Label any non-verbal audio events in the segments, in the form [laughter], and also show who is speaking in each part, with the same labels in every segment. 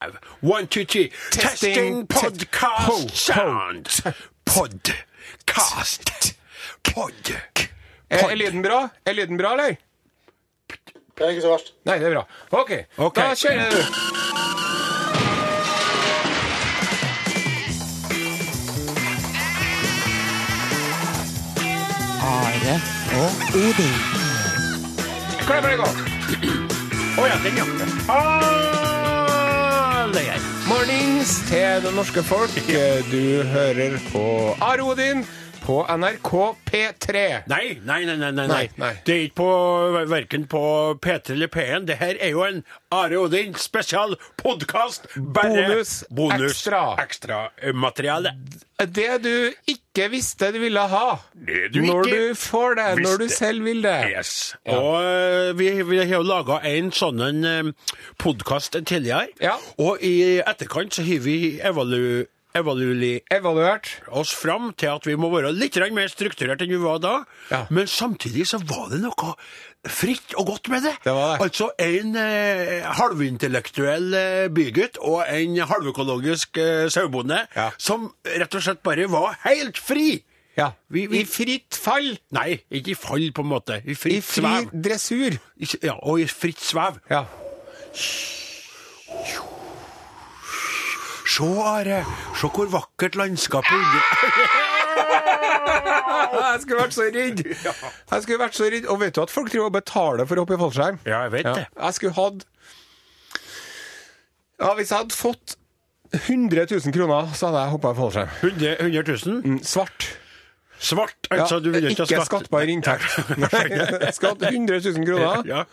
Speaker 1: Five, one, two, three. Testing,
Speaker 2: Testing, test-
Speaker 1: podcast
Speaker 2: ho, ho,
Speaker 1: sound. Pod. Cast. Pod.
Speaker 2: Er, Eh, er lyden bra? Er lyden bra, eller?
Speaker 3: Det er ikke så verst.
Speaker 2: Nei, det er bra. OK,
Speaker 1: Ok.
Speaker 2: da kjører du.
Speaker 4: Are og Odin.
Speaker 2: Klemmer det godt.
Speaker 1: Å ja, den, ja.
Speaker 2: Ah,
Speaker 1: Alle er her.
Speaker 2: Mornings til det norske folk. Du hører på Are Odin på NRK P3.
Speaker 1: Nei, nei, nei, nei, nei,
Speaker 2: Nei, nei.
Speaker 1: Det er ikke på, verken på P3 eller P1. Det her er jo en Are Odin spesial podkast.
Speaker 2: Bonus, ekstra.
Speaker 1: Ekstra eh, materiale.
Speaker 2: Det du ikke visste du ville ha.
Speaker 1: Det du
Speaker 2: når
Speaker 1: ikke
Speaker 2: du får det. Når du
Speaker 1: visste.
Speaker 2: selv vil det.
Speaker 1: Yes. Og eh, vi, vi har jo laga en sånn eh, podkast tidligere,
Speaker 2: Ja.
Speaker 1: og i etterkant så har vi evalu, evaluert
Speaker 2: Evaluert.
Speaker 1: oss fram til at vi må være litt grann mer strukturert enn vi var da,
Speaker 2: Ja.
Speaker 1: men samtidig så var det noe fritt og godt med det.
Speaker 2: Det var det.
Speaker 1: Altså en eh, halvintellektuell eh, bygutt og en halvøkologisk eh, sauebonde
Speaker 2: Ja.
Speaker 1: som rett og slett bare var helt fri.
Speaker 2: Ja.
Speaker 1: Vi- vi-
Speaker 2: I fritt fall.
Speaker 1: Nei, ikke i fall, på en måte. I
Speaker 2: I
Speaker 1: fritt
Speaker 2: fri
Speaker 1: svev.
Speaker 2: dressur.
Speaker 1: I- Ja, og i fritt svev.
Speaker 2: Ja.
Speaker 1: Se, Are, se hvor vakkert landskapet under.
Speaker 2: Jeg skulle vært så [laughs] redd. Jeg skulle vært så redd. Og vet du at folk driver og betaler for å hoppe i fallskjerm?
Speaker 1: Ja, jeg vet
Speaker 2: Ja.
Speaker 1: det.
Speaker 2: Jeg skulle hatt Ja, hvis jeg hadde fått 100 000 kroner, så hadde jeg hoppa i fallskjerm.
Speaker 1: 100, 000?
Speaker 2: Svart.
Speaker 1: Svart, altså. du vil ikke ha skatt.
Speaker 2: Mm. skattbar
Speaker 1: [laughs]
Speaker 2: inntekt. Nei, [laughs] Skatt 100 000 kroner.
Speaker 1: Ja.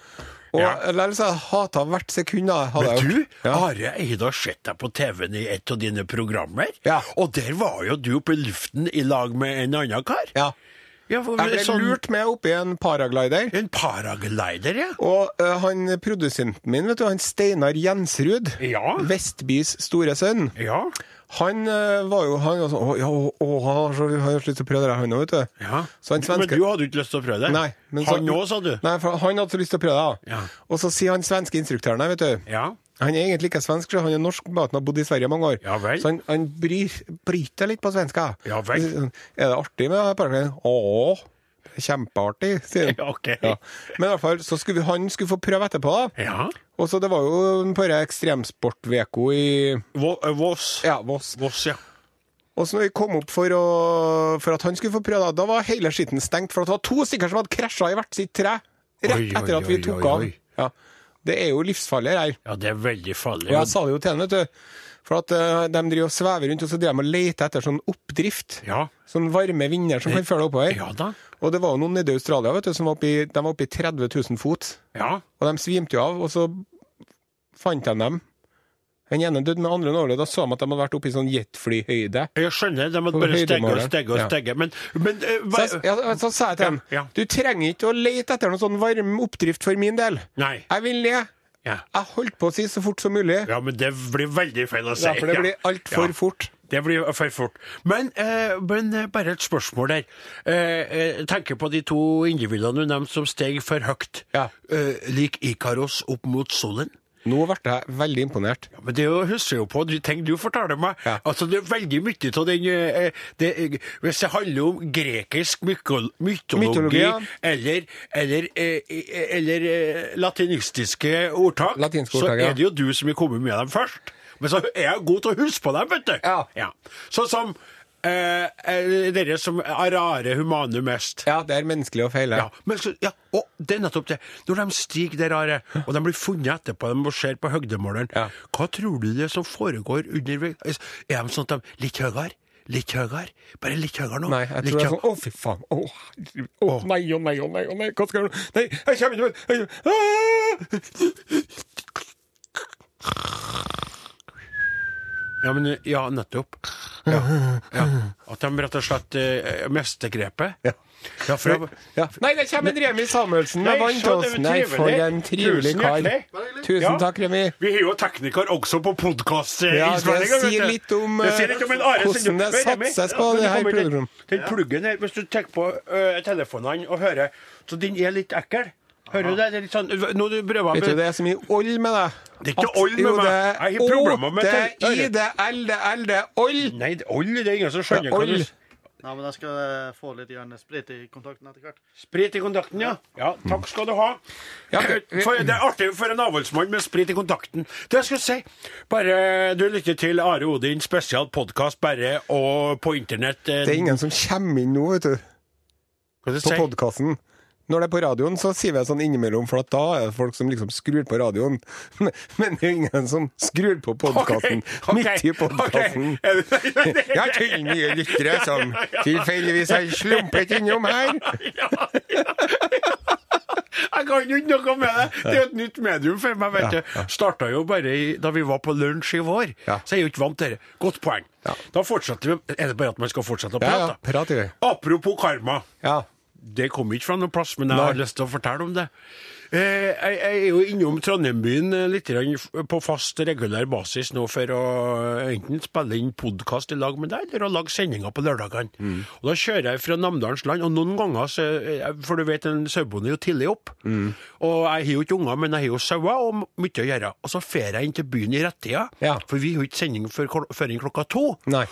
Speaker 2: Og
Speaker 1: Ja.
Speaker 2: ellers hadde jeg hata hvert sekund. da,
Speaker 1: Men
Speaker 2: Hadde jeg
Speaker 1: du, Ah,
Speaker 2: gjort. ja.
Speaker 1: Are, jeg har sett deg på TV-en i et av dine programmer,
Speaker 2: Ja.
Speaker 1: og der var jo du oppe i luften i lag med en annen kar.
Speaker 2: ja.
Speaker 1: Ja, for-
Speaker 2: Jeg ble
Speaker 1: sånn-
Speaker 2: lurt med oppi en paraglider.
Speaker 1: En paraglider, ja.
Speaker 2: Og eh, han produsenten min, vet du, han Steinar Jensrud,
Speaker 1: Ja.
Speaker 2: Vestbys store sønn,
Speaker 1: Ja.
Speaker 2: han eh, var jo han var sånn, å, ja, å, å, han har så han har så lyst til å prøve det, her, han òg, vet du.
Speaker 1: ja.
Speaker 2: Så han
Speaker 1: Men
Speaker 2: svenske,
Speaker 1: du hadde jo ikke lyst til å prøve det?
Speaker 2: Nei, men så-
Speaker 1: Han òg, sa du?
Speaker 2: Nei, for han hadde så lyst til å prøve det. da.
Speaker 1: Ja.
Speaker 2: Og så sier han svenske instruktøren her, vet du.
Speaker 1: Ja.
Speaker 2: Han er egentlig ikke svensk, så han er norsk, bare at han har bodd i Sverige mange år.
Speaker 1: Ja vel.
Speaker 2: Så han, han bryr, bryter litt på svenska.
Speaker 1: Ja vel.
Speaker 2: Så sier han, Er det artig med det parken? Å, kjempeartig, sier han.
Speaker 1: [laughs] Ja, ok.
Speaker 2: Ja. Men i hvert fall, så skulle vi, han skulle få prøve etterpå, da.
Speaker 1: Ja.
Speaker 2: Og så det var jo på denne ekstremsportveko i
Speaker 1: Vå- eh, Voss.
Speaker 2: ja, Voss.
Speaker 1: Voss, ja.
Speaker 2: Og så når vi kom opp for, å, for at han skulle få prøve, da, da var hele skitten stengt, for at det var to stykker som hadde krasja i hvert sitt tre rett
Speaker 1: Oi, oi,
Speaker 2: etter at vi
Speaker 1: oi,
Speaker 2: tok
Speaker 1: oi,
Speaker 2: av.
Speaker 1: oi.
Speaker 2: Ja. Det er jo livsfarlig, det her.
Speaker 1: Ja, det er veldig farlig.
Speaker 2: Og jeg sa det jo til han, vet du. For at eh, de driver og svever rundt, og så driver de og leter etter sånn oppdrift.
Speaker 1: Ja.
Speaker 2: Sånn varme vinder som kan følge deg oppover.
Speaker 1: Ja da.
Speaker 2: Og det var jo noen nede i Australia vet du, som var oppe i, de var oppe i 30 000 fot.
Speaker 1: Ja.
Speaker 2: Og de svimte jo av, og så fant de dem. Den ene døde, den andre overlevde. Da så de at de hadde vært oppe i sånn jetflyhøyde.
Speaker 1: Jeg skjønner, de måtte
Speaker 2: På
Speaker 1: bare stegge og
Speaker 2: høydemåler.
Speaker 1: stegge og
Speaker 2: Ja.
Speaker 1: stegge. Men, men eh,
Speaker 2: Så,
Speaker 1: hva,
Speaker 2: jeg- ja, så sa jeg til dem
Speaker 1: Ja, ja.
Speaker 2: du trenger ikke å lete etter noen sånn varm oppdrift for min del.
Speaker 1: Nei.
Speaker 2: Jeg vil ned.
Speaker 1: Ja.
Speaker 2: Jeg holdt på å si så fort som mulig.
Speaker 1: ja, men det blir veldig feil å si.
Speaker 2: Ja, for det
Speaker 1: Ja.
Speaker 2: blir altfor
Speaker 1: Ja.
Speaker 2: fort.
Speaker 1: Det blir for fort. Men, eh, men eh, bare et spørsmål der. Eh, jeg tenker på de to individene du nevnte som steg for høyt.
Speaker 2: Ja.
Speaker 1: Eh, lik Ikaros opp mot solen.
Speaker 2: Nå ble jeg veldig imponert.
Speaker 1: Ja, men det er jo- husker jeg jo på de ting du forteller meg.
Speaker 2: Ja.
Speaker 1: Altså, Det er veldig mye av den eh, det, eh, Hvis det handler om grekisk myko- mytologi,
Speaker 2: Mytologi, ja.
Speaker 1: eller, eller, eh, eh, eller eh, latinistiske ordtak,
Speaker 2: Latinske
Speaker 1: så
Speaker 2: ordtak, ja.
Speaker 1: er det jo du som har kommet med dem først. Men så er jeg god til å huske på dem, vet du.
Speaker 2: Ja.
Speaker 1: Sånn som eh, eh, dere som er rare humane mest.
Speaker 2: Ja, det er menneskelig å feile.
Speaker 1: Ja, men så, ja, og det er nettopp det. Når de stiger der, Are, og de blir funnet etterpå, de må se på høydemåleren,
Speaker 2: Ja.
Speaker 1: hva tror du det er som foregår underveis? Er de sånn at de litt høyere? Litt høyere? Bare litt høyere nå?
Speaker 2: Nei, jeg
Speaker 1: litt
Speaker 2: tror jeg er
Speaker 1: høyere.
Speaker 2: sånn Å, fy faen. Å, herregud. Å, nei, å nei, å nei. å nei, Hva skal jeg gjøre? Nei, jeg kommer ikke med jeg kommer- Ah!
Speaker 1: Ja, men, ja, nettopp. Ja. ja. At de rett og slett eh, mister grepet.
Speaker 2: Ja.
Speaker 1: Ja, for jeg,
Speaker 2: Ja. Nei, det kommer en Remi Samuelsen
Speaker 1: Ah!» Nei,
Speaker 2: med vann til
Speaker 1: så det
Speaker 2: oss.
Speaker 1: var
Speaker 2: Nei, for
Speaker 1: trivelig.
Speaker 2: en trivelig
Speaker 1: Tusen
Speaker 2: kar.
Speaker 1: hjertelig. Ja.
Speaker 2: Tusen takk, Remi.
Speaker 1: Vi har jo tekniker også på eh, podkast.
Speaker 2: Ja, det sier litt om, eh, hvordan det satses på det her programmet.
Speaker 1: Den pluggen her, hvis du tenker på eh, telefonene og hører, så den er litt ekkel. Hører du det? det er litt sånn, nå du prøver
Speaker 2: Vet du, det er så mye oll med deg.
Speaker 1: Det er ikke
Speaker 2: At-
Speaker 1: oll med
Speaker 2: jo, det
Speaker 1: meg. Jeg har problemer med
Speaker 2: er
Speaker 1: det.
Speaker 2: O, det er I, det er L, det er L, det er oll.
Speaker 1: Nei, det- oll, det er ingen som skjønner
Speaker 2: Det er
Speaker 1: hva du
Speaker 2: oll.
Speaker 5: Nei, men jeg skal eh, få litt gjerne sprit i kontakten etter hvert.
Speaker 1: Sprit i kontakten, ja. Ja, Takk skal du ha.
Speaker 2: Ja, vi-
Speaker 1: For, det er artig for en avholdsmann med sprit i kontakten. Det jeg skulle si, bare eh, du lytter til Are Odin spesial podkast bare og på internett. eh,
Speaker 2: Det er ingen som kommer inn nå, vet du,
Speaker 1: hva skal jeg
Speaker 2: på
Speaker 1: si?
Speaker 2: podkasten. Når det er på radioen, så sier vi det sånn innimellom, for at da er det folk som liksom skrur på radioen. [laughs] Men, men det er jo ingen som skrur på podkasten
Speaker 1: Ok,
Speaker 2: midt i
Speaker 1: ok, [laughs]
Speaker 2: podkasten.
Speaker 1: ok. Er det- nei, nei,
Speaker 2: Jeg har til nye lyttere som tilfeldigvis har slumpet innom her.
Speaker 1: ja, ja. Jeg kan jo ikke noe med det. Det er jo et nytt medium for meg. vet du. Starta jo bare i, da vi var på lunsj i vår,
Speaker 2: Ja.
Speaker 1: så jeg er jo ikke vant til det. Godt poeng. Da fortsetter vi. Er det bare at man skal fortsette å
Speaker 2: Ja,
Speaker 1: prate?
Speaker 2: ja, prater vi.
Speaker 1: Apropos karma.
Speaker 2: Ja.
Speaker 1: Det kom ikke fra noen plass, men jeg har lyst til å fortelle om det. Eh, jeg, jeg er jo innom Trondheimbyen eh, litt grann f- på fast, regulær basis nå for å eh, enten spille inn podkast i lag med deg, eller å lage sendinger på lørdagene. Og Da kjører jeg fra Namdalens land, og noen ganger, så, eh, for du vet, en sauebonde er jo tidlig opp. Og jeg har jo ikke unger, men jeg har jo sauer og mye å gjøre. Og så drar jeg inn til byen i rettida,
Speaker 2: Ja.
Speaker 1: for vi har jo ikke sending før kl- før inn klokka to.
Speaker 2: Nei.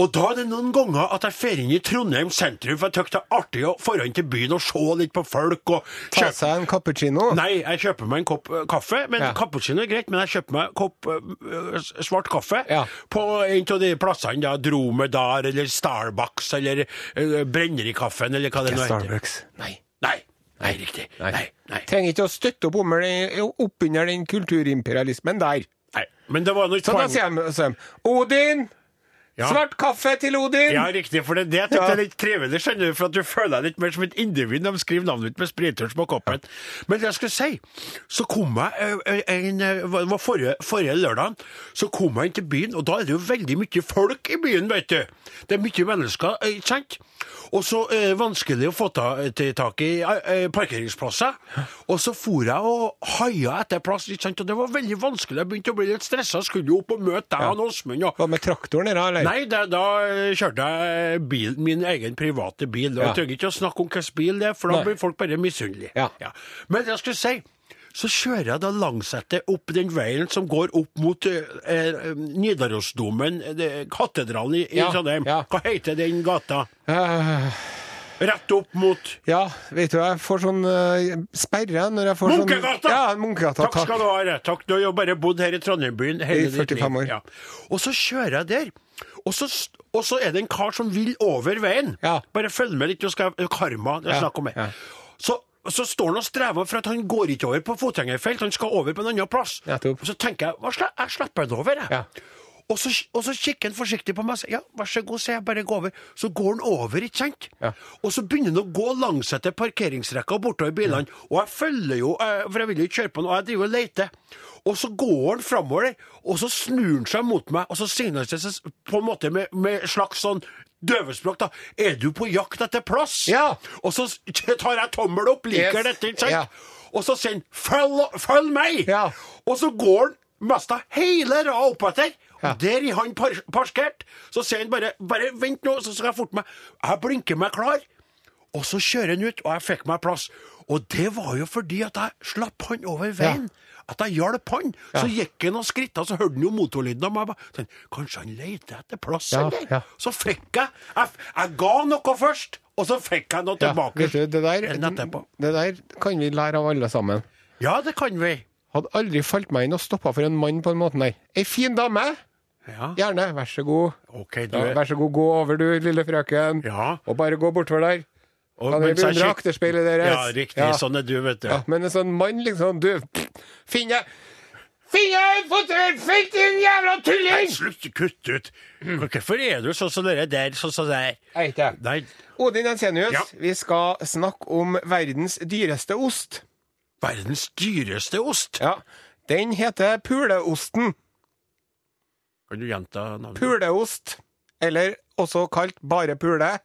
Speaker 1: Og da er det noen ganger at jeg fer inn i Trondheim sentrum, for jeg tykker det er artig å dra inn til byen og se litt på folk og
Speaker 2: Ta
Speaker 1: kjøpe
Speaker 2: seg en cappuccino.
Speaker 1: Nei, jeg kjøper meg en kopp eh, kaffe. Men
Speaker 2: Ja.
Speaker 1: Cappuccino er greit, men jeg kjøper meg en kopp eh, s- svart kaffe
Speaker 2: Ja.
Speaker 1: på en av de plassene, da, Dromedar eller Starbucks eller uh, Brennerikaffen eller hva det nå heter.
Speaker 2: Starbucks. Nei.
Speaker 1: Nei, nei, riktig. Nei, nei. nei.
Speaker 2: Trenger ikke å støtte opp om eller- opp under den kulturimperialismen der.
Speaker 1: Men det var noe
Speaker 2: Så da
Speaker 1: poeng.
Speaker 2: sier de så sier de, Odin!
Speaker 1: Ja.
Speaker 2: Svart kaffe til Odin!
Speaker 1: Ja, riktig, for det er det jeg
Speaker 2: Ja.
Speaker 1: tykker er litt trivelig, skjønner du, for at du føler deg litt mer som et individ når de skriver navnet ditt med sprittusj på koppen. Men det jeg skulle si, så kom jeg ø, ø, en, ø, hva- det var forrige, forrige lørdagen, så kom jeg inn til byen, og da er det jo veldig mye folk i byen, vet du. Det er mye mennesker, ø, ikke sant? Og så er det vanskelig å få ta, til tak i ø, ø, parkeringsplasser. Og så for jeg og haia etter plass, ikke sant? og det var veldig vanskelig. Jeg begynte å bli litt stressa, skulle jo opp og møte deg og Åsmund. og
Speaker 2: Hva med traktoren her, da, eller?
Speaker 1: Nei, da, da eh, kjørte jeg bil, min egen private bil. Og
Speaker 2: Ja.
Speaker 1: Jeg trenger ikke å snakke om hvilken bil det er, for da
Speaker 2: Nei.
Speaker 1: blir folk bare misunnelige.
Speaker 2: Ja.
Speaker 1: Men jeg skulle si, så kjører jeg da langsetter opp den veien som går opp mot eh, eh, Nidarosdomen, eh, katedralen i, i
Speaker 2: Ja,
Speaker 1: Trondheim.
Speaker 2: ja.
Speaker 1: Hva heter den gata?
Speaker 2: Eh,
Speaker 1: Rett opp mot
Speaker 2: ja, vet du, jeg får sånn eh, sperre når jeg får sånn
Speaker 1: Munkegata!
Speaker 2: Ja, Munkegata,
Speaker 1: Takk skal du ha. Are. Takk. Du har jo bare bodd her i Trondheimbyen
Speaker 2: I
Speaker 1: hele ditt
Speaker 2: 45
Speaker 1: liv.
Speaker 2: år.
Speaker 1: Ja. Og så kjører jeg der, og så, og så er det en kar som vil over veien.
Speaker 2: Ja.
Speaker 1: Bare følg med litt, du skal karma det er
Speaker 2: Ja,
Speaker 1: snakk om
Speaker 2: ja.
Speaker 1: her. Så, så står han og strever for at han går ikke over på fotgjengerfelt, han skal over på en annen plass.
Speaker 2: Nettopp.
Speaker 1: Og så tenker jeg, hva slags, jeg slipper han over, jeg.
Speaker 2: Ja.
Speaker 1: Og så, og så kikker han forsiktig på meg og sier ja, vær så god, sier jeg, bare gå over. Så går han over, ikke sant?
Speaker 2: Ja.
Speaker 1: Og så begynner han å gå langs etter parkeringsrekka og bortover bilene. Og jeg følger jo, eh, for jeg vil jo ikke kjøre på han, og jeg driver og leter. Og så går han framover, der, og så snur han seg mot meg, og så signaliserer han seg på en måte med, med slags sånn døvespråk, da. Er du på jakt etter plass?
Speaker 2: Ja.
Speaker 1: Og så tar jeg tommel opp, liker
Speaker 2: Yes.
Speaker 1: dette, ikke sant?
Speaker 2: Ja.
Speaker 1: Og så sier han 'følg, følg meg'!
Speaker 2: Ja.
Speaker 1: Og så går han mesta hele rada oppetter.
Speaker 2: Ja.
Speaker 1: Og Der er han par parkert. Så sier han bare 'bare vent nå, så skal jeg forte meg'. Jeg blinker meg klar, og så kjører han ut, og jeg fikk meg plass. Og det var jo fordi at jeg slapp han over veien. At jeg hjalp han. Så gikk han og skritta, så hørte han jo motorlyden av meg. Jeg bare tenkte, Kanskje han leter etter plass,
Speaker 2: Ja,
Speaker 1: eller?
Speaker 2: ja.
Speaker 1: Så fikk jeg, jeg Jeg ga noe først, og så fikk jeg noe
Speaker 2: Ja,
Speaker 1: tilbake.
Speaker 2: vet du, det der,
Speaker 1: enn etterpå.
Speaker 2: det der kan vi lære av alle sammen.
Speaker 1: Ja, det kan vi.
Speaker 2: Hadde aldri falt meg inn og stoppa for en mann på den måten der. Ei fin dame!
Speaker 1: Ja,
Speaker 2: Gjerne, vær så god.
Speaker 1: ok, du
Speaker 2: Ja,
Speaker 1: er-
Speaker 2: vær så god, gå over du, lille frøken.
Speaker 1: Ja.
Speaker 2: Og bare gå bortover der.
Speaker 1: Og
Speaker 2: Kan dere
Speaker 1: mens jeg
Speaker 2: beundre
Speaker 1: kik-
Speaker 2: akterspeilet deres?
Speaker 1: Ja, riktig.
Speaker 2: Ja.
Speaker 1: Sånn er du, vet du.
Speaker 2: Ja, men en sånn mann liksom Du, finn deg Finn deg en fotografert, din jævla tulling!
Speaker 1: Slutt, kutt ut! Hvorfor er du sånn som dere der? Sånn som der?
Speaker 2: Jeg vet ikke.
Speaker 1: Nei,
Speaker 2: Odin Ensenius,
Speaker 1: Ja.
Speaker 2: vi skal snakke om verdens dyreste ost.
Speaker 1: verdens dyreste ost!
Speaker 2: Ja. Den heter puleosten.
Speaker 1: Kan du gjenta navnet?
Speaker 2: Puleost. Eller også kalt bare pule.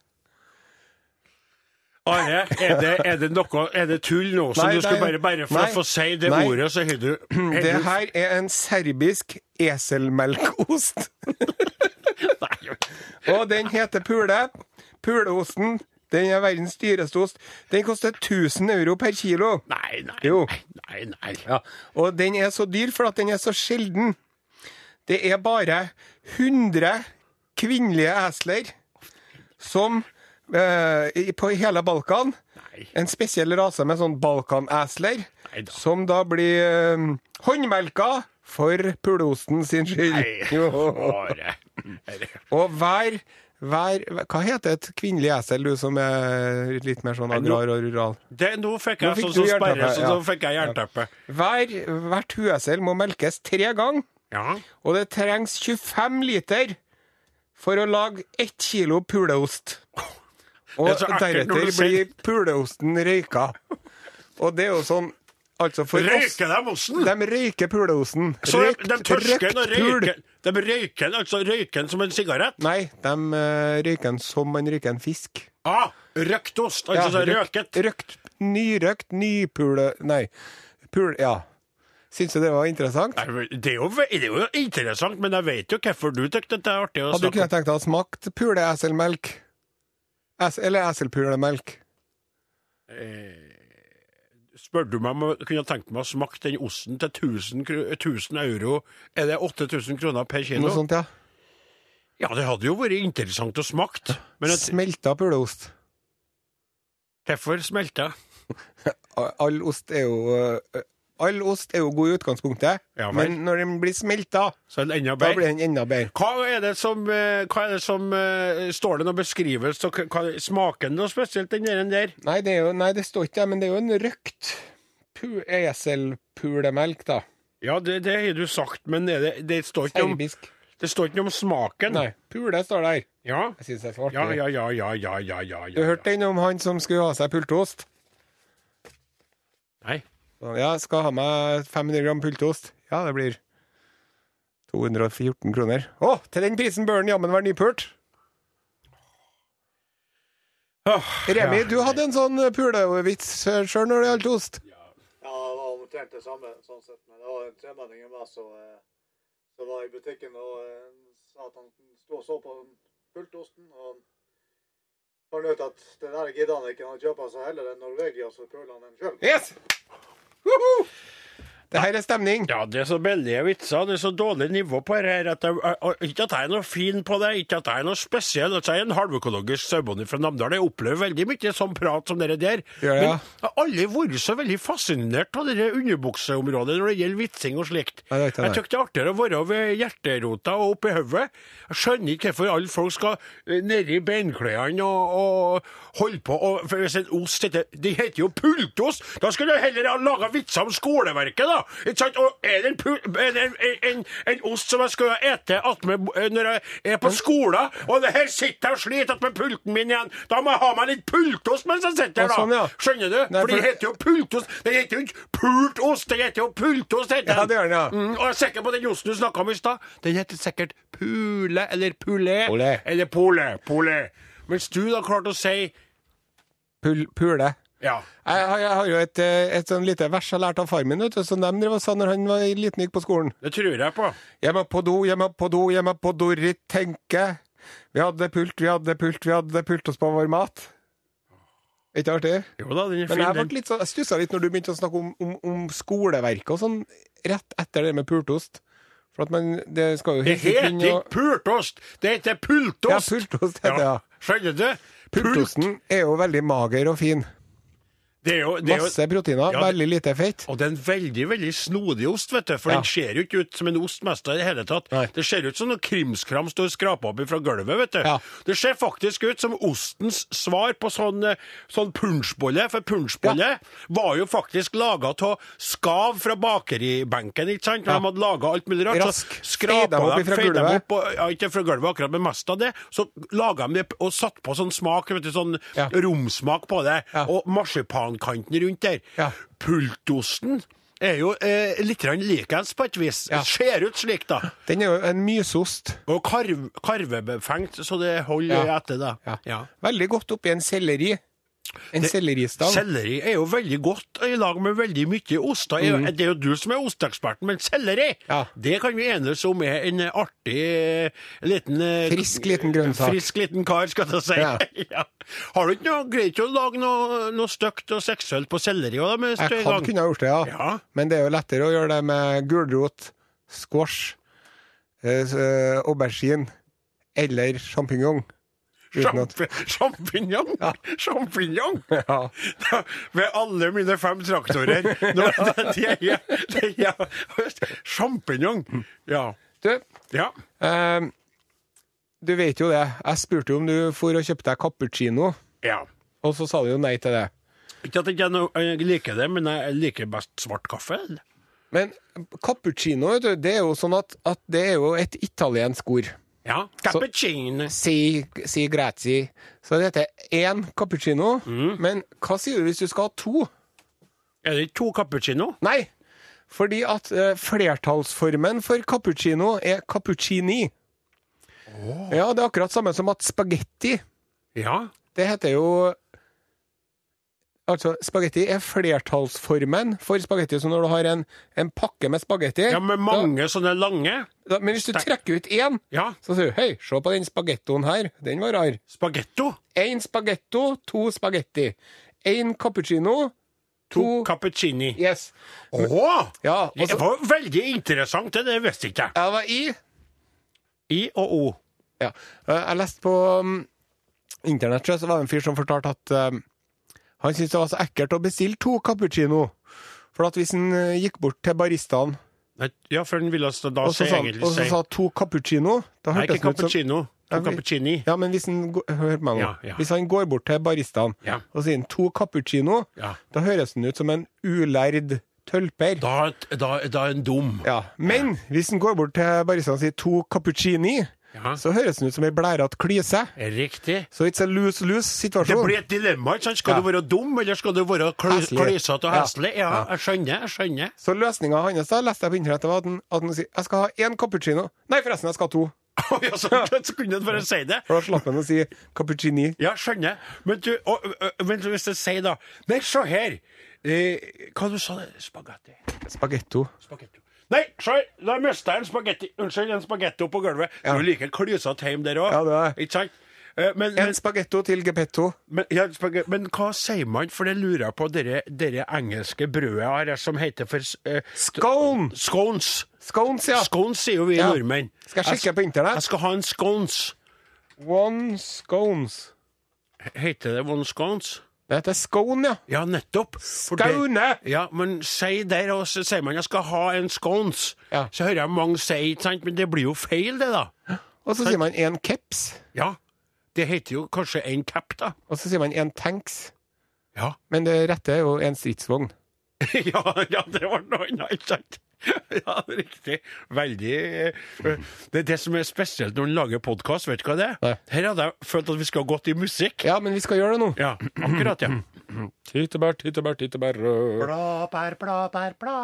Speaker 1: Are, er det, er det noe Er det tull nå? Så
Speaker 2: Nei,
Speaker 1: du skulle
Speaker 2: nei.
Speaker 1: bare, bare for
Speaker 2: Nei.
Speaker 1: å få si det
Speaker 2: Nei.
Speaker 1: ordet, så har du har
Speaker 2: [clears throat] Det
Speaker 1: du-
Speaker 2: her er en serbisk eselmelkost.
Speaker 1: Nei,
Speaker 2: Og den heter pule. Puleosten. Den er verdens dyreste ost. Den koster 1000 euro per kilo.
Speaker 1: Nei, nei,
Speaker 2: Jo.
Speaker 1: nei, nei, nei.
Speaker 2: Ja, og den er så dyr for at den er så sjelden. Det er bare 100 kvinnelige esler som eh, i- på hele Balkan
Speaker 1: Nei.
Speaker 2: En spesiell rase med sånn balkanesler
Speaker 1: Neida.
Speaker 2: som da blir eh, håndmelka for puleosten sin skyld.
Speaker 1: Nei,
Speaker 2: [laughs] Jo. [laughs]
Speaker 1: bare.
Speaker 2: Og hver, hver Hva heter et kvinnelig esel, du som er litt mer sånn agrar og rural?
Speaker 1: Det, nå fikk
Speaker 2: Nå
Speaker 1: jeg
Speaker 2: fikk
Speaker 1: sånn
Speaker 2: du
Speaker 1: som sperre,
Speaker 2: jernteppe,
Speaker 1: så
Speaker 2: ja.
Speaker 1: nå fikk jeg jernteppe.
Speaker 2: Hver, hvert huesel må melkes tre ganger.
Speaker 1: Ja.
Speaker 2: Og det trengs 25 liter for å lage ett kilo puleost. Og
Speaker 1: Det er så artig når
Speaker 2: deretter
Speaker 1: du sier-
Speaker 2: blir puleosten røyka. Og det er jo sånn Altså, for oss
Speaker 1: Røyker dem osten?
Speaker 2: De røyker puleosten.
Speaker 1: Så de,
Speaker 2: Røykt-
Speaker 1: de tørsker den og
Speaker 2: røykt pul.
Speaker 1: røyker den. De røyker den, altså røyker den som en sigarett?
Speaker 2: Nei, de eh, røyker den som man røyker en fisk.
Speaker 1: Ah, røkt ost, altså så røket.
Speaker 2: Røkt, nyrøkt, nypule... Nei. Pul... Ja. Syns du det var interessant?
Speaker 1: Nei, men Det er, jo, ve- det er jo interessant, men jeg vet jo hvorfor du tykker det er artig å
Speaker 2: Hadde du
Speaker 1: snakke
Speaker 2: kunnet tenkt deg å smake puleeselmelk? Es eller eselpulemelk?
Speaker 1: Spør du meg om jeg kunne tenkt meg å smake den osten til 1000, kro- 1000 euro, er det 8000 kroner per kilo?
Speaker 2: Noe sånt, ja.
Speaker 1: Ja, det hadde jo vært interessant å smake, men at,
Speaker 2: Smelta puleost.
Speaker 1: hvorfor smelter jeg?
Speaker 2: All ost er jo øh, All ost er jo god i utgangspunktet,
Speaker 1: Ja vel.
Speaker 2: men når den blir smelta,
Speaker 1: Så er den enda
Speaker 2: da
Speaker 1: bedre.
Speaker 2: blir den enda bedre.
Speaker 1: Hva er det som, eh, hva er det som eh, Står det noen beskrivelse? og Hva, smaker den noe spesielt, den der? den der?
Speaker 2: Nei, det, er jo, nei, det står ikke det, men det er jo en røkt pu- eselpulemelk, da.
Speaker 1: Ja, det, det har du sagt, men er det, det, står ikke om,
Speaker 2: Serbisk.
Speaker 1: det står ikke noe om smaken.
Speaker 2: Nei, pule står der.
Speaker 1: Ja.
Speaker 2: Jeg syns det er så artig.
Speaker 1: Ja, ja, ja, ja, ja, ja, ja, ja.
Speaker 2: Du hørte den om han som skulle ha seg pultost?
Speaker 1: Nei.
Speaker 2: Ja, skal ha meg 500 gram pultost. Ja, det blir 214 kroner. Å, til den prisen bør den jammen være nypult!
Speaker 1: Åh,
Speaker 2: Remi,
Speaker 1: ja.
Speaker 2: du hadde en sånn pulevits eh, sjøl når det gjaldt ost.
Speaker 3: Ja, det var omtrent det samme, sånn sett. Men det var en tremenning med meg som eh, som var i butikken og eh, sa at han sto og så på pultosten. Og han fant ut at det der gidder han ikke. Han kjøper seg heller en Norvegia, så puler han den sjøl.
Speaker 2: Yes! Woohoo! Det her er stemning.
Speaker 1: Ja, det er så billige vitser. Det er så dårlig nivå på det her. At jeg, jeg- jeg- ikke at jeg er noe fin på det, ikke at jeg er noe spesiell. Altså, jeg er en halvøkologisk sauebonde fra Namdal. Jeg opplever veldig mye sånn prat som dere der.
Speaker 2: Gjør det, ja.
Speaker 1: Men jeg har aldri vært så veldig fascinert av det der underbukseområdet når det gjelder vitsing og slikt.
Speaker 2: Nei, det er ikke
Speaker 1: jeg
Speaker 2: det.
Speaker 1: syns det er artigere å være ved hjerterota og oppi hodet. Jeg skjønner ikke hvorfor alle folk skal eh, nedi beinklærne og, og holde på og, for Hvis en ost heter De heter jo pultost! Da skulle du heller ha laga vitser om skoleverket, da! Ikke sant? Og er det en, pul, er det en, en, en, en ost som jeg skal ete attmed eh, når jeg er på skolen, og det her sitter jeg og sliter med pulten min igjen, da må jeg ha meg litt pultost mens jeg sitter
Speaker 2: Ja,
Speaker 1: her, da!
Speaker 2: sånn, ja.
Speaker 1: Skjønner du?
Speaker 2: Nei,
Speaker 1: for de
Speaker 2: for-
Speaker 1: heter jo pultost! Den heter jo ikke pultost, den heter jo pultost! heter
Speaker 2: Ja, det gjør den, ja.
Speaker 1: Mm, og jeg er sikker på den osten du snakka om i stad. Den heter sikkert Pule eller Pulé.
Speaker 2: Pulé.
Speaker 1: Eller Pole. Pole. Mens du da klarte å si
Speaker 2: Pul pule.
Speaker 1: Ja.
Speaker 2: Jeg, har- jeg har jo et, eh, et sånn lite vers jeg lærte av far min, vet du, som de drev og sa når han var liten og gikk på skolen.
Speaker 1: Det tror jeg på.
Speaker 2: Hjemme på do, hjemme på do, hjemme på Dorrit tenke. Vi hadde pult, vi hadde pult, vi hadde pult oss på vår mat. Er Ikke artig?
Speaker 1: Jo da, den er
Speaker 2: Men
Speaker 1: fin,
Speaker 2: jeg,
Speaker 1: den.
Speaker 2: ble litt så, jeg stussa litt når du begynte å snakke om, om, om skoleverket og sånn, rett etter det med pultost. For at man, det skal jo
Speaker 1: Det
Speaker 2: helst ikke
Speaker 1: heter
Speaker 2: begynne
Speaker 1: ikke
Speaker 2: å-
Speaker 1: pultost, det heter pultost.
Speaker 2: Ja, pultost heter det, ja.
Speaker 1: Skjønner du? Pult.
Speaker 2: Pultosten er jo veldig mager og fin.
Speaker 1: Det er jo, det er jo
Speaker 2: Masse proteiner,
Speaker 1: Ja, det-
Speaker 2: veldig lite fett.
Speaker 1: Og det er en veldig veldig snodig ost, vet du. For
Speaker 2: Ja.
Speaker 1: den ser jo ikke ut som en ost mest i det hele tatt.
Speaker 2: Nei.
Speaker 1: Det ser ut som noe krimskram står skrapa opp fra gulvet, vet du.
Speaker 2: Ja.
Speaker 1: Det ser faktisk ut som ostens svar på sånn, eh, sånn punsjbolle. For punsjbolle var jo faktisk laga av skav fra bakeribenken, ikke sant? Når
Speaker 2: Ja.
Speaker 1: De hadde laga alt mulig rart.
Speaker 2: Rask.
Speaker 1: Så skrapa
Speaker 2: Feida opp
Speaker 1: de
Speaker 2: ifra
Speaker 1: feida
Speaker 2: gulvet.
Speaker 1: opp, og, ja, ikke fra gulvet akkurat, men mest av det. Så laga de det p- og satte på sånn smak, vet du, sånn
Speaker 2: Ja.
Speaker 1: romsmak på det.
Speaker 2: Ja.
Speaker 1: Og marsipankanten rundt der.
Speaker 2: Ja.
Speaker 1: Pultosten er jo eh, litt grann likens på et vis.
Speaker 2: Ja.
Speaker 1: Ser ut slik, da.
Speaker 2: Den er jo en mysost.
Speaker 1: Og karv, karvebefengt, så det holder
Speaker 2: Ja.
Speaker 1: etter det.
Speaker 2: Ja. Veldig godt oppi en selleri. En selleristang.
Speaker 1: Selleri er jo veldig godt i lag med veldig mye oster. Er jo- Det er jo du som er osteeksperten, men selleri,
Speaker 2: Mm. Ja.
Speaker 1: det kan vi enes om er en artig eh, liten eh,
Speaker 2: Frisk liten grønnsak.
Speaker 1: Frisk liten kar, skal jeg si.
Speaker 2: Ja.
Speaker 1: [laughs] Ja. Har du ikke noe greit å lage noe, noe stygt og seksuelt på selleri òg, da? mens du er
Speaker 2: Jeg
Speaker 1: i
Speaker 2: kan
Speaker 1: gang?
Speaker 2: kunne ha gjort det, ja.
Speaker 1: Ja.
Speaker 2: Men det er jo lettere å gjøre det med gulrot, squash, eh, s- eh, aubergine eller sjampinjong. Uten at-
Speaker 1: Champi- Champignon! Champignon!
Speaker 2: Ja.
Speaker 1: [laughs] Ved alle mine fem traktorer.
Speaker 2: [laughs]
Speaker 1: Nå, det, det, det, det,
Speaker 2: Mm.
Speaker 1: champignon! Ja.
Speaker 2: Du,
Speaker 1: ja.
Speaker 2: eh, du vet jo det. Jeg spurte jo om du for å kjøpe deg cappuccino,
Speaker 1: ja.
Speaker 2: og så sa du jo nei til det.
Speaker 1: Ikke at jeg ikke no- jeg liker det, men jeg liker best svart kaffe.
Speaker 2: Men cappuccino, vet du, det er jo sånn at, at det er jo et italiensk ord.
Speaker 1: Ja, cappuccino.
Speaker 2: Si, si grazie. Så det heter én cappuccino.
Speaker 1: Mm.
Speaker 2: Men hva sier du hvis du skal ha to?
Speaker 1: Er det ikke to cappuccino?
Speaker 2: Nei, fordi at eh, flertallsformen for cappuccino er cappuccini. Ja, det er akkurat samme som at spagetti,
Speaker 1: Ja.
Speaker 2: det heter jo Altså, spagetti er flertallsformen for spagetti, så når du har en, en pakke med spagetti
Speaker 1: ja, med mange sånne lange.
Speaker 2: da, Men hvis du trekker ut én,
Speaker 1: Ja,
Speaker 2: så sier du hei, se på den spagettoen her, den var rar.
Speaker 1: spagetto.
Speaker 2: Én spagetto, to spagetti. Én cappuccino,
Speaker 1: To
Speaker 2: to
Speaker 1: cappuccini.
Speaker 2: Yes.
Speaker 1: Åh!
Speaker 2: Ja, og
Speaker 1: det
Speaker 2: så
Speaker 1: var veldig interessant, det, det visste ikke jeg.
Speaker 2: Ja, det var i
Speaker 1: I og O.
Speaker 2: Ja. Eh, Jeg leste på um, internett, tror jeg, så var det en fyr som fortalte at um, han syntes det var så ekkelt å bestille to cappuccino. For at hvis han eh, gikk bort til baristaen
Speaker 1: Nei, Ja, for den ville oss da
Speaker 2: og så
Speaker 1: si
Speaker 2: sa, han-
Speaker 1: egentlig
Speaker 2: og så
Speaker 1: si
Speaker 2: sa to cappuccino da
Speaker 1: Nei,
Speaker 2: hørtes
Speaker 1: ikke
Speaker 2: det ut som,
Speaker 1: cappuccino.
Speaker 2: Ja,
Speaker 1: To
Speaker 2: vi-
Speaker 1: cappuccini.
Speaker 2: ja, men hvis han, gå- hør meg nå.
Speaker 1: Ja, ja.
Speaker 2: Hvis han går bort til baristaen
Speaker 1: Ja.
Speaker 2: og sier han to cappuccino,
Speaker 1: Ja.
Speaker 2: da høres han ut som en ulærd tølper.
Speaker 1: Da, da, da er en dum.
Speaker 2: Ja. Men hvis han går bort til baristaen og sier to cappuccini,
Speaker 1: Ja.
Speaker 2: så høres han ut som ei blærete klyse.
Speaker 1: Riktig.
Speaker 2: Så it's a lose-lose
Speaker 1: Det
Speaker 2: situasjon.
Speaker 1: blir et dilemma. ikke sant? Skal
Speaker 2: Ja.
Speaker 1: du være dum, eller skal du være kl-
Speaker 2: Heslig.
Speaker 1: klysete og
Speaker 2: Ja.
Speaker 1: heslig? Ja, jeg skjønner. jeg skjønner.
Speaker 2: Så løsninga hans da, leste jeg på internettet, var at han, at han sier jeg skal ha én cappuccino. Nei, forresten, jeg skal ha to.
Speaker 1: Å, ja, så, så kunne han bare si det.
Speaker 2: For da slapp han å si cappuccini.
Speaker 1: Ja, skjønner. Men, du, og, og, men hvis jeg sier da Nei, se her. Eh, hva du sa du? Spagetti.
Speaker 2: Spagetto.
Speaker 1: Spagetti. Nei, se her! Da mista jeg en spagetti Unnskyld, en spagetto på gulvet. Du er like klysete hjemme der òg.
Speaker 2: Ja, det
Speaker 1: Ikke sant? Eh, Men,
Speaker 2: En
Speaker 1: men,
Speaker 2: spagetto til gepetto.
Speaker 1: men, ja, spag- men hva sier man, for det lurer jeg på, dere, dere engelske brødet her som heter for eh,
Speaker 2: Scone!
Speaker 1: scones?
Speaker 2: Scones, ja.
Speaker 1: Scones sier jo vi
Speaker 2: Ja.
Speaker 1: nordmenn.
Speaker 2: Skal jeg sjekke på
Speaker 1: Jeg
Speaker 2: internett?
Speaker 1: skal ha en scones.
Speaker 2: One scones.
Speaker 1: Heter det one scones?
Speaker 2: Det heter scone, ja.
Speaker 1: Ja, nettopp. For det-
Speaker 2: Scone!
Speaker 1: Ja, men si der, og så sier man jeg skal ha en scones.
Speaker 2: Ja.
Speaker 1: Så hører jeg mange si, ikke sant, men det blir jo feil, det, da.
Speaker 2: Og så sier man en caps.
Speaker 1: Ja. Det heter jo kanskje en cap, da.
Speaker 2: Og så sier man en tanks.
Speaker 1: Ja.
Speaker 2: Men det rette er jo en stridsvogn.
Speaker 1: [laughs] ja, ja, det var noe annet, ikke sant? Ja, riktig. Veldig eh, Det er det som er spesielt når en lager podkast, vet du hva det er?
Speaker 2: Nei.
Speaker 1: Her hadde jeg følt at vi skulle ha gått i musikk.
Speaker 2: Ja, men vi skal gjøre det nå.
Speaker 1: Ja, akkurat, ja.
Speaker 2: Mm. Tyttebær, tyttebær, tyttebær. rød.
Speaker 5: Bla, per, bla, per, bla.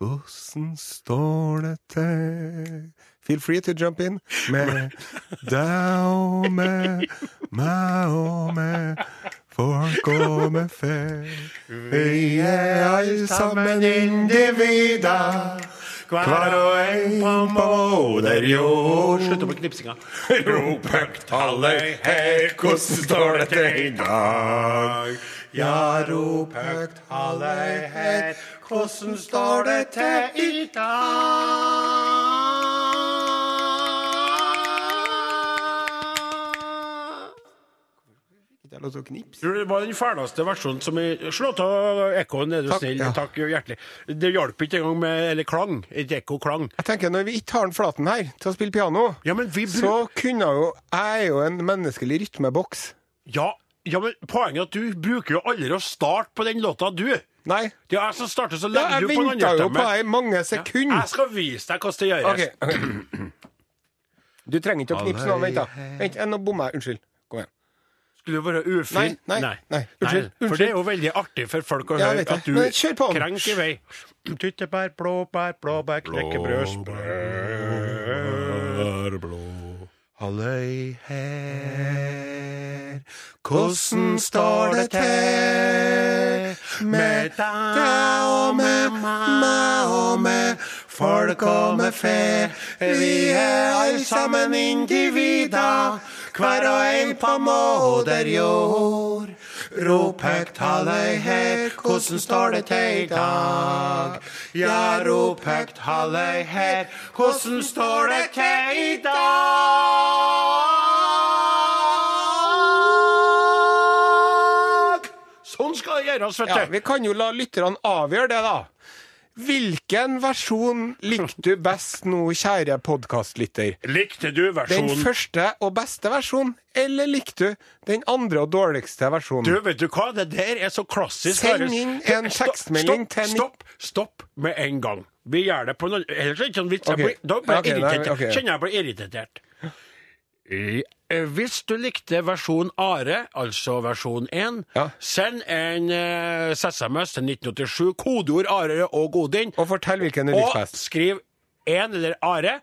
Speaker 2: Hvordan står det til? Feel free to jump in
Speaker 1: [laughs]
Speaker 2: med deg og med meg og med folk og med fe. Vi er alle sammen individer, hver og en på moder jord.
Speaker 5: Slutt opp med knipsinga.
Speaker 2: Rop høyt, halløy, hei, hvordan står det til i dag? Ja, rop høyt, halløy, hei, hvordan står det til i dag?
Speaker 1: Tror du Det var den fæleste versjonen som jeg Slå av ekkoen, er du
Speaker 2: Takk,
Speaker 1: snill.
Speaker 2: ja.
Speaker 1: Takk hjertelig. Det hjalp ikke engang med Eller klang. Et ekko-klang.
Speaker 2: Jeg tenker Når vi ikke har den flaten her til å spille piano,
Speaker 1: Ja, men vi bru...
Speaker 2: så kunne jeg jo Jeg er jo en menneskelig rytmeboks.
Speaker 1: ja, ja, men poenget er at du bruker jo aldri å starte på den låta, du. Det
Speaker 2: Nei.
Speaker 1: er jeg som starter, så
Speaker 2: Ja,
Speaker 1: legger
Speaker 2: jeg
Speaker 1: du på en
Speaker 2: venta
Speaker 1: annen
Speaker 2: jo
Speaker 1: stemme.
Speaker 2: på ei mange sekunder.
Speaker 1: Jeg skal vise deg hvordan det gjøres.
Speaker 2: Ok. Du trenger ikke å knipse nå. Vent, da. Vent, eh, nå bomma jeg. Unnskyld. Kom igjen.
Speaker 1: Skulle du være ufin?
Speaker 2: Nei, nei, nei. Unnskyld,
Speaker 1: For
Speaker 2: unnskyld.
Speaker 1: det er jo veldig artig for folk å
Speaker 2: Ja,
Speaker 1: høre
Speaker 2: jeg vet
Speaker 1: at
Speaker 2: det.
Speaker 1: du
Speaker 2: Men kjør på.
Speaker 1: krenker i vei.
Speaker 5: Tyttebær, blåbær, blåbær, knekkebrød, sprø.
Speaker 1: Blå. Halløy her, hvordan står det til med deg og med meg og med folk og med fe? Vi er alle sammen individer, hver og en på moder jord. Rop høyt halløy her, hvordan står det til i dag? Ja, rop høyt halløy her, hvordan står det til i dag? Sånn skal det gjøres, vet
Speaker 2: Ja,
Speaker 1: du.
Speaker 2: vi kan jo la lytterne avgjøre det, da. Hvilken versjon likte du best nå, kjære podkastlytter?
Speaker 1: Likte du
Speaker 2: Den
Speaker 1: versjonen?
Speaker 2: første og beste versjonen, eller likte du den andre og dårligste
Speaker 1: Du,
Speaker 2: versjonen?
Speaker 1: vet du hva? Det der er så klassisk.
Speaker 2: Send
Speaker 1: Are.
Speaker 2: inn en
Speaker 1: Stopp,
Speaker 2: tekstmelding
Speaker 1: stopp,
Speaker 2: til ni-
Speaker 1: Stopp, stopp med en gang. Vi gjør det på noe Ellers er det ikke sånn vits. Jeg
Speaker 2: Ok.
Speaker 1: blir- Da blir jeg
Speaker 2: Ok, nei,
Speaker 1: irritert.
Speaker 2: ok.
Speaker 1: Kjenner jeg blir irritert. I- eh, Hvis du likte versjon Are, altså versjon 1,
Speaker 2: Ja.
Speaker 1: send en eh, SMS til 1987, kodeord Are og Odin,
Speaker 2: Og fortell hvilken du
Speaker 1: og
Speaker 2: likte best.
Speaker 1: skriv 1 eller Are.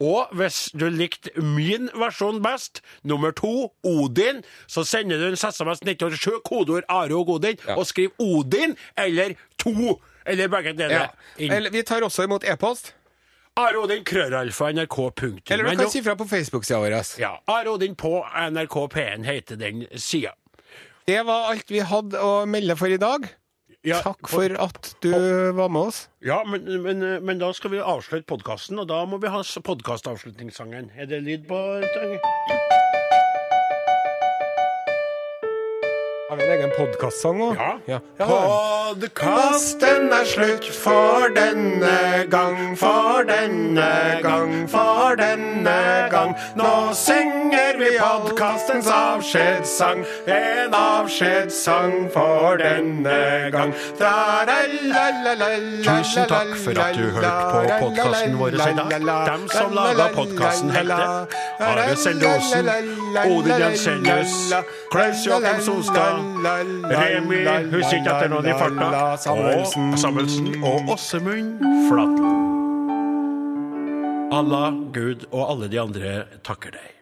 Speaker 1: Og hvis du likte min versjon best, nummer to, Odin, så sender du en SMS 1987, kodeord Are og Odin,
Speaker 2: Ja.
Speaker 1: og skriv Odin eller to, eller begge
Speaker 2: Ja.
Speaker 1: deler. inn.
Speaker 2: Eller, vi tar også imot e-post.
Speaker 1: Are Odin, krøralfa, nrk.no.
Speaker 2: Eller du kan si fra på Facebook-sida vår.
Speaker 1: ja, Are Odin på NRK P1 heter den sida.
Speaker 2: Det var alt vi hadde å melde for i dag.
Speaker 1: Ja,
Speaker 2: Takk for at du var med oss.
Speaker 1: Ja, men, men, men da skal vi avslutte podkasten, og da må vi ha s- podkastavslutningssangen. Er det lyd på
Speaker 2: Har vi en egen podkastsang òg?
Speaker 1: Ja.
Speaker 2: ja.
Speaker 1: Podkasten er slutt for denne gang, for denne gang, for denne gang. Nå synger vi podkastens avskjedssang, en avskjedssang for denne gang. Tra-la-la-la-la-la-la-la-la.
Speaker 2: Tusen takk for at du hørte på podkasten vår i dag. Dem som laga podkasten, heter Are Sendosen, Odin Jensenius, Klaus Joakim Solstad, Remi Husker ikke etter noen i farta, og Samuelsen og
Speaker 1: og Åsemund Flaten. Allah, Gud og alle de andre takker deg.